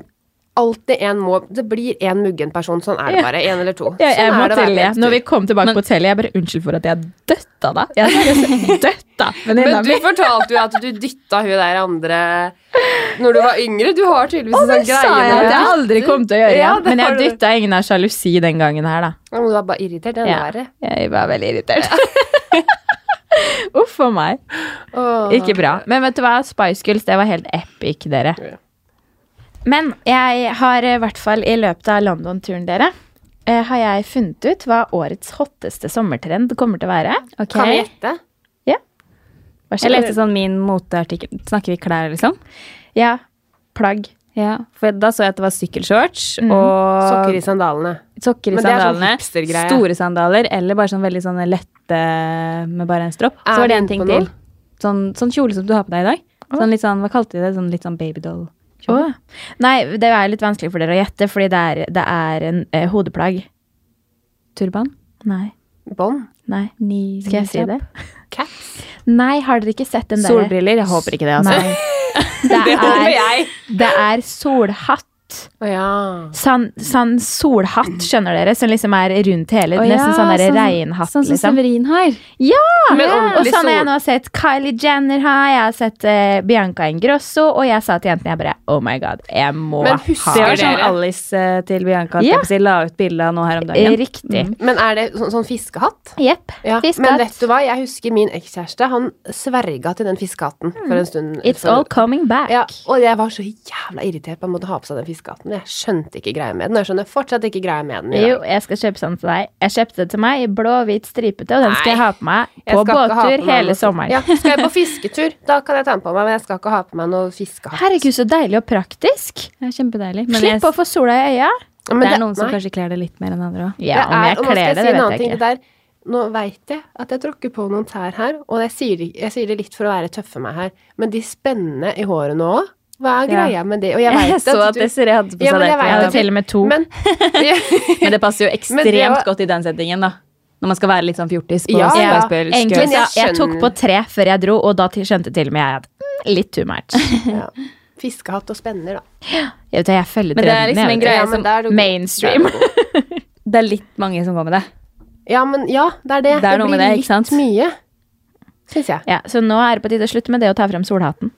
Alltid en må Det blir en muggen person. Sånn er det bare. Én eller to.
Ja, jeg
sånn
må
er det å være på
tilgi.
jentetur.
Når vi kom tilbake på hotellet, jeg bare unnskyld for at jeg døtta da. Jeg seriøst døtta venninna
Men du
mi.
fortalte jo at du dytta hun der andre når du var yngre. Du har tydeligvis en
Det
sånn
sa
greie
jeg
med
at jeg aldri kom til å gjøre
Ja,
igjen.
det
Men
har
jeg
du.
dytta ingen av sjalusi den gangen her, da.
Ja, men Du var bare irritert. Det er
Ja.
verre.
Jeg var veldig irritert. Uff a meg.
Åh.
Ikke bra. Men vet du hva? Spice Girls, det var helt epic, dere.
Ja.
Men jeg har eh, i hvert fall i løpet av London-turen, dere, eh, har jeg funnet ut hva årets hotteste sommertrend kommer til å være.
Ok.
Kan vi gjette?
Vær så
Jeg
god.
leste sånn min moteartikkel. Snakker vi klær, liksom?
Ja. Plagg.
Ja, for da så jeg at det var sykkelshorts og
Sokker i sandalene.
sokker i
Men det er sånn
sandalene.
hipstergreie.
store sandaler, eller bare sånn veldig sånne lette med bare en stropp.
Er
Så
vi
var det en
inne
ting
på noe?
til. Sånn, sånn kjole som du har på deg i dag. Sånn litt sånn, Hva kalte de det? Sånn litt sånn babydoll.
Åh. Nei, det er litt vanskelig for dere å gjette, fordi det er, det er en eh, hodeplagg.
Turban?
Nei.
Bånd.
Nei.
Ni,
Skal jeg si det?
Caps.
Nei, har dere ikke sett den derre
Solbriller? Jeg håper ikke det, altså.
Nei. Det er,
jeg.
det er solhatt.
Å ja.
Sånn, sånn solhatt, skjønner dere, som liksom er rundt hele.
Å
nesten
ja,
sånn der reinhatt,
Sånn som
liksom.
Severin har.
Ja!
Men
Og
ordentlig
sånn har jeg
sol.
nå sett Kylie Jenner her, jeg har sett eh, Bianca Ingrosso, og jeg sa til jentene jeg bare Oh my god, jeg må ha
Men husker
Det var sånn
dere?
Alice eh, til Bianca
Ja.
ja. la ut bilde av nå her om dagen.
Riktig.
Men er det sånn, sånn fiskehatt?
Jepp.
Ja. Men vet
Fiskehatt.
du hva, jeg husker min ekskjæreste. Han sverga til den fiskehatten for en stund.
Hmm. It's
for-
all coming back.
ja, og jeg var så jævla irritert på å måtte ha på seg den fiskehatten. men jeg skjønte ikke greia med den. Og jeg skjønner fortsatt ikke greia med den. i dag.
Jo, jeg skal kjøpe sånn til deg. Jeg kjøpte det til meg i blå, hvit, stripete, og den skal
Nei.
jeg ha på meg
Jeg
på
skal ikke ha på
båttur
meg noe
hele
sånt.
sommeren.
Ja, skal jeg på fisketur, da kan jeg ta den på meg, men jeg skal ikke ha på meg noe fiskehatt.
Herregud, så deilig og praktisk.
Det er kjempedeilig. Men
Slipp å
jeg,
få sola i øya.
Men
det er noen som
nei.
kanskje kler det litt mer enn andre òg.
Ja,
Det
om
er-
jeg
og nå skal
kler det,
si
det
en annen
vet jeg
ting.
ikke.
Det der, nå vet jeg at jeg tråkker på noen tær her, og jeg sier, det- jeg sier det litt for å være tøffe meg her, men de spennene i håret nå òg, hva er
Ja.
greia med det? Og jeg vet
så at Desiree hadde på
Ja,
seg
men
det.
Jeg
jeg vet
etterpå.
hadde til og med to.
Men,
Men det passer jo ekstremt
Men det var-
godt i den settingen, da. Når man skal være litt sånn fjortis på
Ja,
ja.
skuespillskurs.
Egentlig
Men
så
jeg
jeg tok
skjønner.
på tre før jeg dro, og da til- skjønte til og med jeg at mm, litt too much.
ja. Fiskehatt og spenner, da.
Jeg, vet, jeg følger
Men det er
trenden,
liksom
jeg,
en
vet.
greie
Ja,
som
men der er du god.
mainstream.
Der er du god.
Det er litt mange som går med det.
Ja, men ja, det er det.
Det er noe med
blir
det, ikke
litt
sant?
mye, syns jeg.
Ja, så nå er det på tide å slutte med det å ta frem solhatten.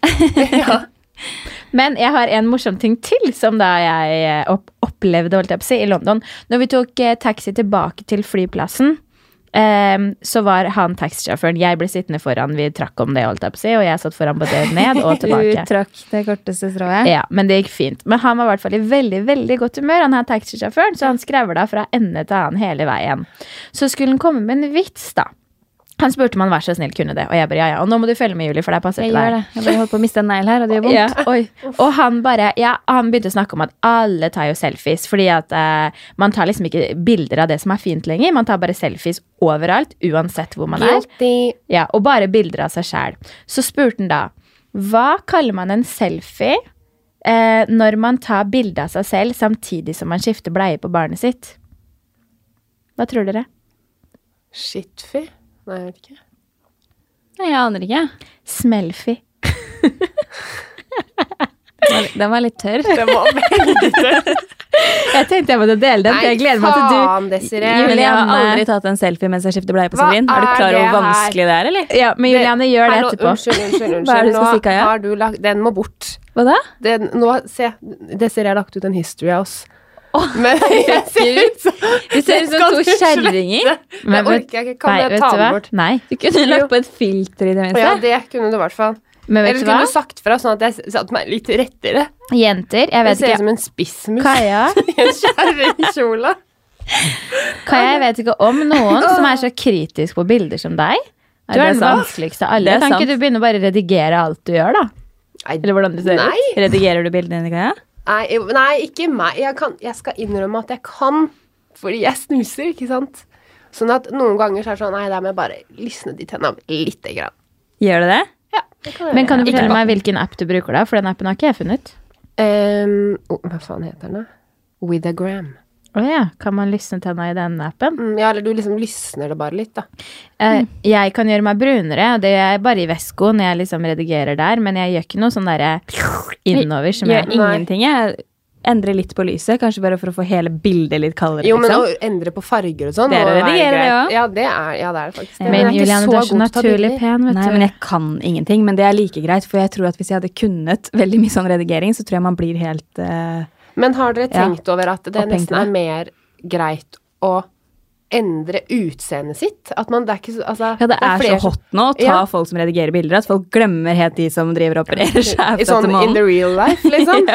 Men jeg har en morsom ting til som da jeg eh, opp opplevde holdt jeg på å si, i London. Når vi tok eh, taxi tilbake til flyplassen, eh, så var han taxisjåføren. Jeg ble sittende foran, vi trakk om det, holdt jeg på å si, og jeg satt foran både ned og tilbake.
trakk det korteste strået.
Ja, men det gikk fint. Men han var i hvert fall i veldig veldig godt humør, han her taxisjåføren, så han skrevla fra ende til annen hele veien. Så skulle han komme med en vits, da. Han spurte om han vær så snill kunne det, og jeg bare ja, ja. Og nå må du følge med, Julie, for det er passet
Jeg
til deg.
gjør det. Jeg bare holdt på å miste en negl her, og det gjør vondt.
Ja, oi. Og han bare ja, han begynte å snakke om at alle tar jo selfies. Fordi at eh, man tar liksom ikke bilder av det som er fint lenger. Man tar bare selfies overalt, uansett hvor man er.
Guilty.
Ja, Og bare bilder av seg sjæl. Så spurte han da hva kaller man en selfie eh, når man tar bilde av seg selv samtidig som man skifter bleie på barnet sitt? Hva tror dere?
Shitfy? Nei, jeg vet ikke.
Nei, jeg aner ikke.
Smellfy.
Den var- Den var litt tørr.
Det var veldig
Jeg tenkte jeg måtte dele den. for jeg gleder meg til du
faen, Desiree.
Men jeg har
Julianne-
aldri tatt en selfie mens jeg skifter bleie på
Hva
Sevrin. Er du
er
klar
det
over hvor
her?
vanskelig det er, eller?
Ja, men Juliane, gjør det
Hallo,
etterpå.
Unnskyld, unnskyld, unnskyld.
Hva er det du skal
Nå
si, Kaja?
har du lagt, den må bort.
Hva da?
Den, nå, se, Desiree har lagt ut en history av oss. Men jeg ser ut som
Vi ser ut som
Skal
to
du slette?
kjerringer.
Det orker jeg ikke. Kan
Nei,
jeg
vet
ta
du hva?
den bort?
Nei.
Du kunne lagt på et filter i det
Ja,
minste.
det kunne du i hvert fall.
Men
Eller
vet du
kunne
hva?
du sagt fra, sånn at jeg satte meg litt rettere.
Jenter, jeg
Jeg
vet
ser ut
ikke
som en spissmus
Kaja,
i en kjerringkjole.
Kaja, jeg vet ikke om noen som er så kritisk på bilder som deg. Du
det
er
er
den
sant.
vanskeligste av
Det
alle.
er
Kan
sant.
ikke du begynne å bare redigere alt du gjør, da?
Nei,
Eller hvordan du ser ut?
Nei.
Redigerer du bildene dine, Kaja?
nei, jo, nei, ikke meg. Jeg, kan, jeg skal innrømme at jeg kan, fordi jeg snuser, ikke sant? Sånn at noen ganger så er det sånn Nei, der må jeg bare lysne de tenna lite grann.
Gjør du det?
Ja, det kan jeg
Men kan du
gjøre.
fortelle meg hvilken app du bruker, da? For den appen har ikke jeg funnet.
Ehm, oh, Hva faen heter den, da? Withagram.
Å ja, kan man lysne tenna i den appen?
Mm, ja, eller du liksom lysner det bare litt, da.
Eh, jeg kan gjøre meg brunere, og det gjør jeg bare i Vesko når jeg liksom redigerer der, men jeg gjør ikke noe sånn derre innover som
Gjør
jeg
ingenting. Jeg endrer litt på lyset, kanskje bare for å få hele bildet litt kaldere.
Jo, men
liksom.
å endre på farger og sånn
Dere
må jo være
redigerer det
greit.
også?
Ja, det er, ja, det er det faktisk. Det,
Men
jeg ikke
Juliane, du er så
god til å ta
naturlig
bilder.
pen, vet
Nei,
du.
men jeg kan ingenting, men det er like greit, for jeg tror at hvis jeg hadde kunnet veldig mye sånn redigering, så tror jeg man blir helt eh,
Men har dere
Ja.
tenkt over at det
Opphengt
nesten
i
er
det.
mer greit å endre utseendet sitt? At man, det er ikke så altså,
Ja, det er så
flere som-
hot nå å ta
Ja.
folk som redigerer bilder, at folk glemmer helt de som driver og opererer seg.
I sånn in the real life, liksom.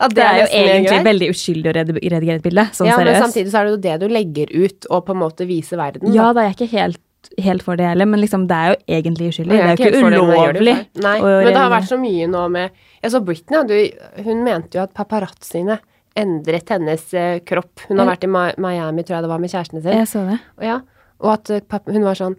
At
Det er jo
nesten mer
egentlig
greit.
veldig uskyldig å redi- redigere et bilde, sånn
ja, Men
seriøst.
samtidig så er det jo det du legger ut, og på en måte viser verden. da.
Ja, da er jeg ikke helt, helt for det heller, men liksom, det er jo egentlig
Jeg
uskyldig. Det er jo
helt
ikke
for det, men jeg gjør det jo
ulovlig.
selv. Nei,
å
men det har
redigere.
vært så mye nå med Jeg så Britney, og du, hun mente jo at paparazziene endret hennes eh, kropp. Hun har vært i Ma- Miami, tror jeg det var, med kjæresten sin.
Jeg så det.
Og, ja, og at eh, papp- hun var sånn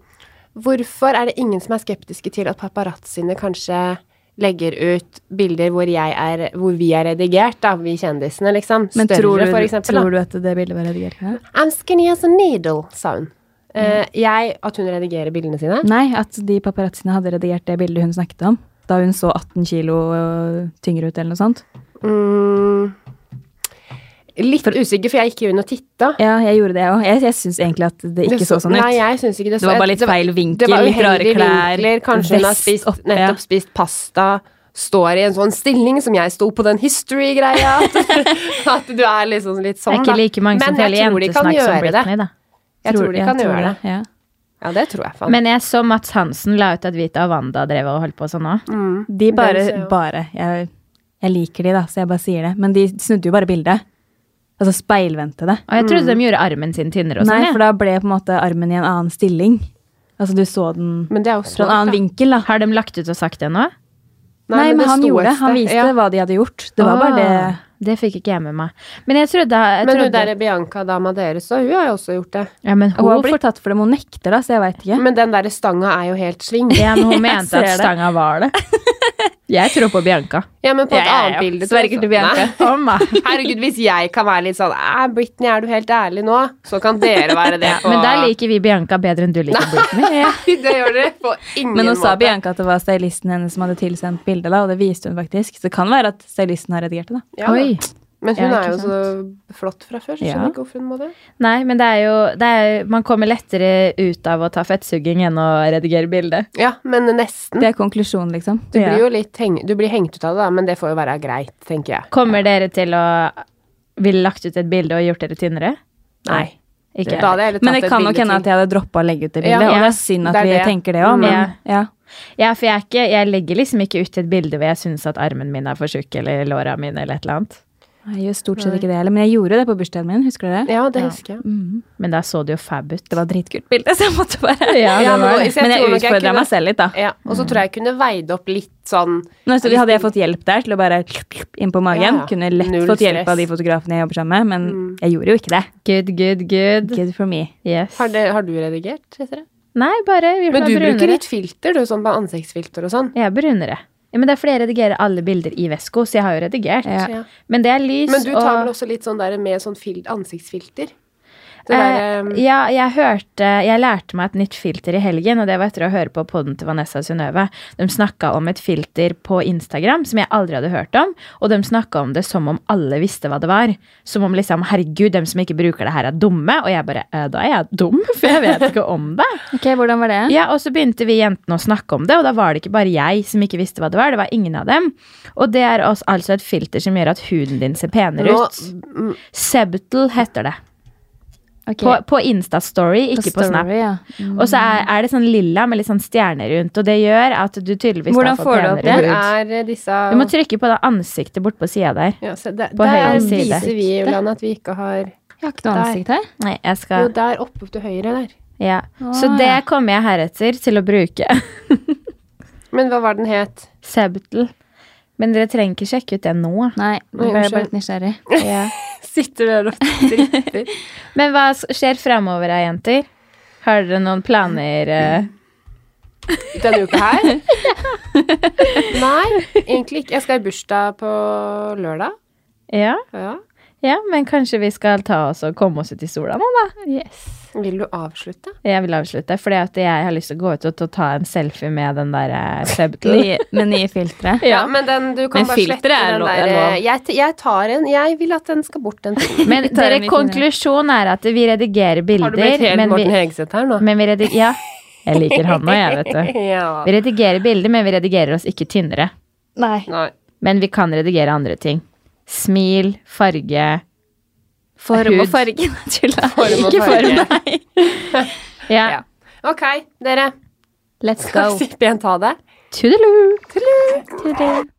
Hvorfor er det ingen som er skeptiske til at paparazziene kanskje legger ut bilder hvor, jeg er, hvor vi er redigert, da, vi kjendisene, liksom?
Men
Større,
tror du,
for eksempel. da.
tror du at det bildet var redigert? Ja?
I'm skinny as a needle, sa hun. Eh, jeg At hun redigerer bildene sine?
Nei, at de paparazziene hadde redigert det bildet hun snakket om. Da hun så 18 kilo øh, tyngre ut, eller noe sånt.
Mm, litt usikker, for jeg gikk jo inn og titta.
Ja, jeg gjorde det òg. Jeg, jeg syns egentlig at det ikke så, sånn ut.
Nei, jeg syns ikke det så
det var bare litt
var-
feil vinkel,
Det var
litt rare
uheldige
klær,
vinkler. Kanskje hun har
vest
spist,
oppe.
nettopp spist pasta. Står i en sånn stilling som jeg sto på den history-greia. At, at du er liksom litt
Det
sånn,
er ikke like mange som
Men jeg
teller
tror de kan
jentesnakk som
gjøre det.
Britney, da.
Jeg tror de kan gjøre det.
Ja.
Ja, det tror jeg faen.
Men jeg så Mats Hansen la ut at Vita og Wanda drev og holdt på sånn òg.
mm.
De bare,
Den ser jo-
bare jeg, Jeg liker de, da, så jeg bare sier det. Men de snudde jo bare bildet. Altså speilvendte det.
Og jeg
Mm.
trodde de gjorde armen sin tynnere og
Nei,
sånn. jeg.
for da ble på en måte armen i en annen stilling. Altså du så den
Men det er jo
fra en
smart.
annen vinkel, da.
Har de lagt ut og sagt det nå?
Nei, men,
det
han
sto
gjorde det.
et
Han
sted.
viste
Ja.
hva de hadde gjort. Det var bare det.
Ah, Det fikk ikke jeg med meg. Men jeg trodde, jeg
Men hun
trodde
der Bianca Dama deres, så hun har jo også gjort det.
ja, men
Hun
hun,
har blitt tatt for det, men hun nekter, da, så jeg veit ikke.
Men den derre stanga er jo helt sving.
ja, men hun mente altså.
ser
at
det.
stanga var det. Jeg tror på Bianca.
Ja, men på et
Ja, ja, ja.
annet bilde.
Sverger
tror jeg
til
så-
Bianca.
Nei.
Å, meg.
Herregud, hvis jeg kan være litt sånn Æ, Britney, er du helt ærlig nå? Så kan dere være det på
Men der liker vi Bianca bedre enn du liker Britney.
Det gjør dere på ingen
Men hun sa
måte.
Bianca at det var stylisten hennes som hadde tilsendt bildet, da, og det viste hun faktisk. Så det kan være at stylisten har redigert det, da.
Ja, da.
Oi.
Men hun
Ja,
er jo
ikke
så flott fra før, så skjønner
Ja.
ikke hvorfor hun må det.
Nei, men det er jo det er, Man kommer lettere ut av å ta fettsugging enn å redigere bilde.
Ja, men nesten.
Det er konklusjonen, liksom.
Du blir jo litt heng, du blir hengt ut av det, da, men det får jo være greit, tenker jeg.
Kommer dere til å ville lagt ut et bilde og gjort dere tynnere?
Nei.
Ikke?
Da hadde jeg heller
Men
tatt
det
et
kan nok
bilde
hende at
til.
jeg hadde droppa å legge ut
Ja,
det bildet, og
ja.
det er synd at
Det Mm. er
vi
det.
tenker det òg, men
Ja.
ja.
Ja, for jeg, er ikke, jeg legger liksom ikke ut et bilde hvor jeg syns at armen min er for tjukk, eller låra mine, eller et eller annet.
Jeg gjør stort sett ikke det heller, men jeg gjorde det på bursdagen min, husker du det? Mm.
Ja, det husker jeg.
Men da så det jo fab ut.
Det var et dritkult bilde, så jeg måtte bare
Ja,
Ja,
det
men
var det.
hvis jeg
Men jeg
tror nok jeg
utfordra
kunne-
meg selv litt, da.
Ja, og så tror jeg jeg kunne veid opp litt sånn
Nå, så hadde jeg fått hjelp der til å bare inn på magen.
Ja, ja.
Kunne lett
Null
fått hjelp
stress.
av de fotografene jeg jobber sammen med, men jeg gjorde jo ikke det.
Good, good, good.
Good for me.
Yes.
Har, det, har du redigert? Cecilie?
Nei, bare vi
Men
ble
du bruker
brunere.
litt filter, du, sånn på ansiktsfilter og sånn.
Jeg er brunere. Ja, men det er fordi jeg redigerer alle bilder i Vesko, så jeg har jo redigert.
Ja.
Så ja.
Men det er lys
Men du tar vel
og
også litt sånn der med sånn fil, ansiktsfilter? Det
Eh,
der, eh,
ja, jeg hørte Jeg lærte meg et nytt filter i helgen, og det var etter å høre på podden til Vanessa og Synnøve. De snakka om et filter på Instagram som jeg aldri hadde hørt om, og de snakka om det som om alle visste hva det var. Som om liksom Herregud, dem som ikke bruker det her, er dumme. Og jeg bare eh, Da er jeg dum, for jeg vet ikke om det.
Ok, Hvordan var det?
Ja, og så begynte vi jentene å snakke om det, og da var det ikke bare jeg som ikke visste hva det var, det var ingen av dem. Og det er også, altså et filter som gjør at huden din ser penere
nå-
ut. Sebtel heter det.
Ok.
På, på Insta-story, ikke på,
story,
Snap.
ja.
Og så er, er det sånn lilla med litt sånn stjerner rundt, og det gjør at du tydeligvis
Hvordan
da
får du opp
Hvor
penere hud.
er eh, disse
Du må trykke på det ansiktet bort på sida der.
ja, se, der,
på
der
høyre side.
viser vi Julian at vi ikke har
Jeg har ikke noe
Der.
ansikt her.
Nei, jeg
Jo,
skal
der oppe til høyre der.
Ja.
Ah.
Så det kommer jeg heretter til å bruke.
Men hva var den het?
Sebtel. Men dere trenger ikke sjekke ut det nå.
Nei, nå ble jeg bare
unnskyld.
litt nysgjerrig.
Ja.
Sitter dere og dritter?
Men hva s- skjer fremover, da, jenter? Har dere noen planer? eh?
Denne uka her? Nei, egentlig ikke. Jeg skal i bursdag på lørdag.
Ja?
Ja.
ja, men kanskje vi skal ta oss og komme oss ut i sola nå, da?
Vil du avslutte?
Jeg vil avslutte, fordi at jeg har lyst til å gå ut og ta- ta en selfie med den der eh, Sebtel.
Nye, med nye filtre.
Ja, men den, du kan
Men
bare
filteret
slette
er
den
lov-
der
er
eh,
lov.
jeg, t- jeg tar en. Jeg vil at den skal bort, den filmen.
Men
tar en
dere,
liten-
konklusjonen er at vi redigerer bilder,
Har du blitt helt
men
Morten
vi,
Hegseth her nå?
men vi redigerer Ja, jeg liker han òg, jeg, vet du.
Ja.
Vi redigerer bilder, men vi redigerer oss ikke tynnere.
Nei.
Nei.
Men vi kan redigere andre ting. Smil, farge
Form
Hud.
og farge, tulla.
Form og
Ikke form,
farge.
nei.
Ja.
Ja. Ok, dere.
Let's
Skal
go.
vi pent ha det?
Tudelu!
Tudelu.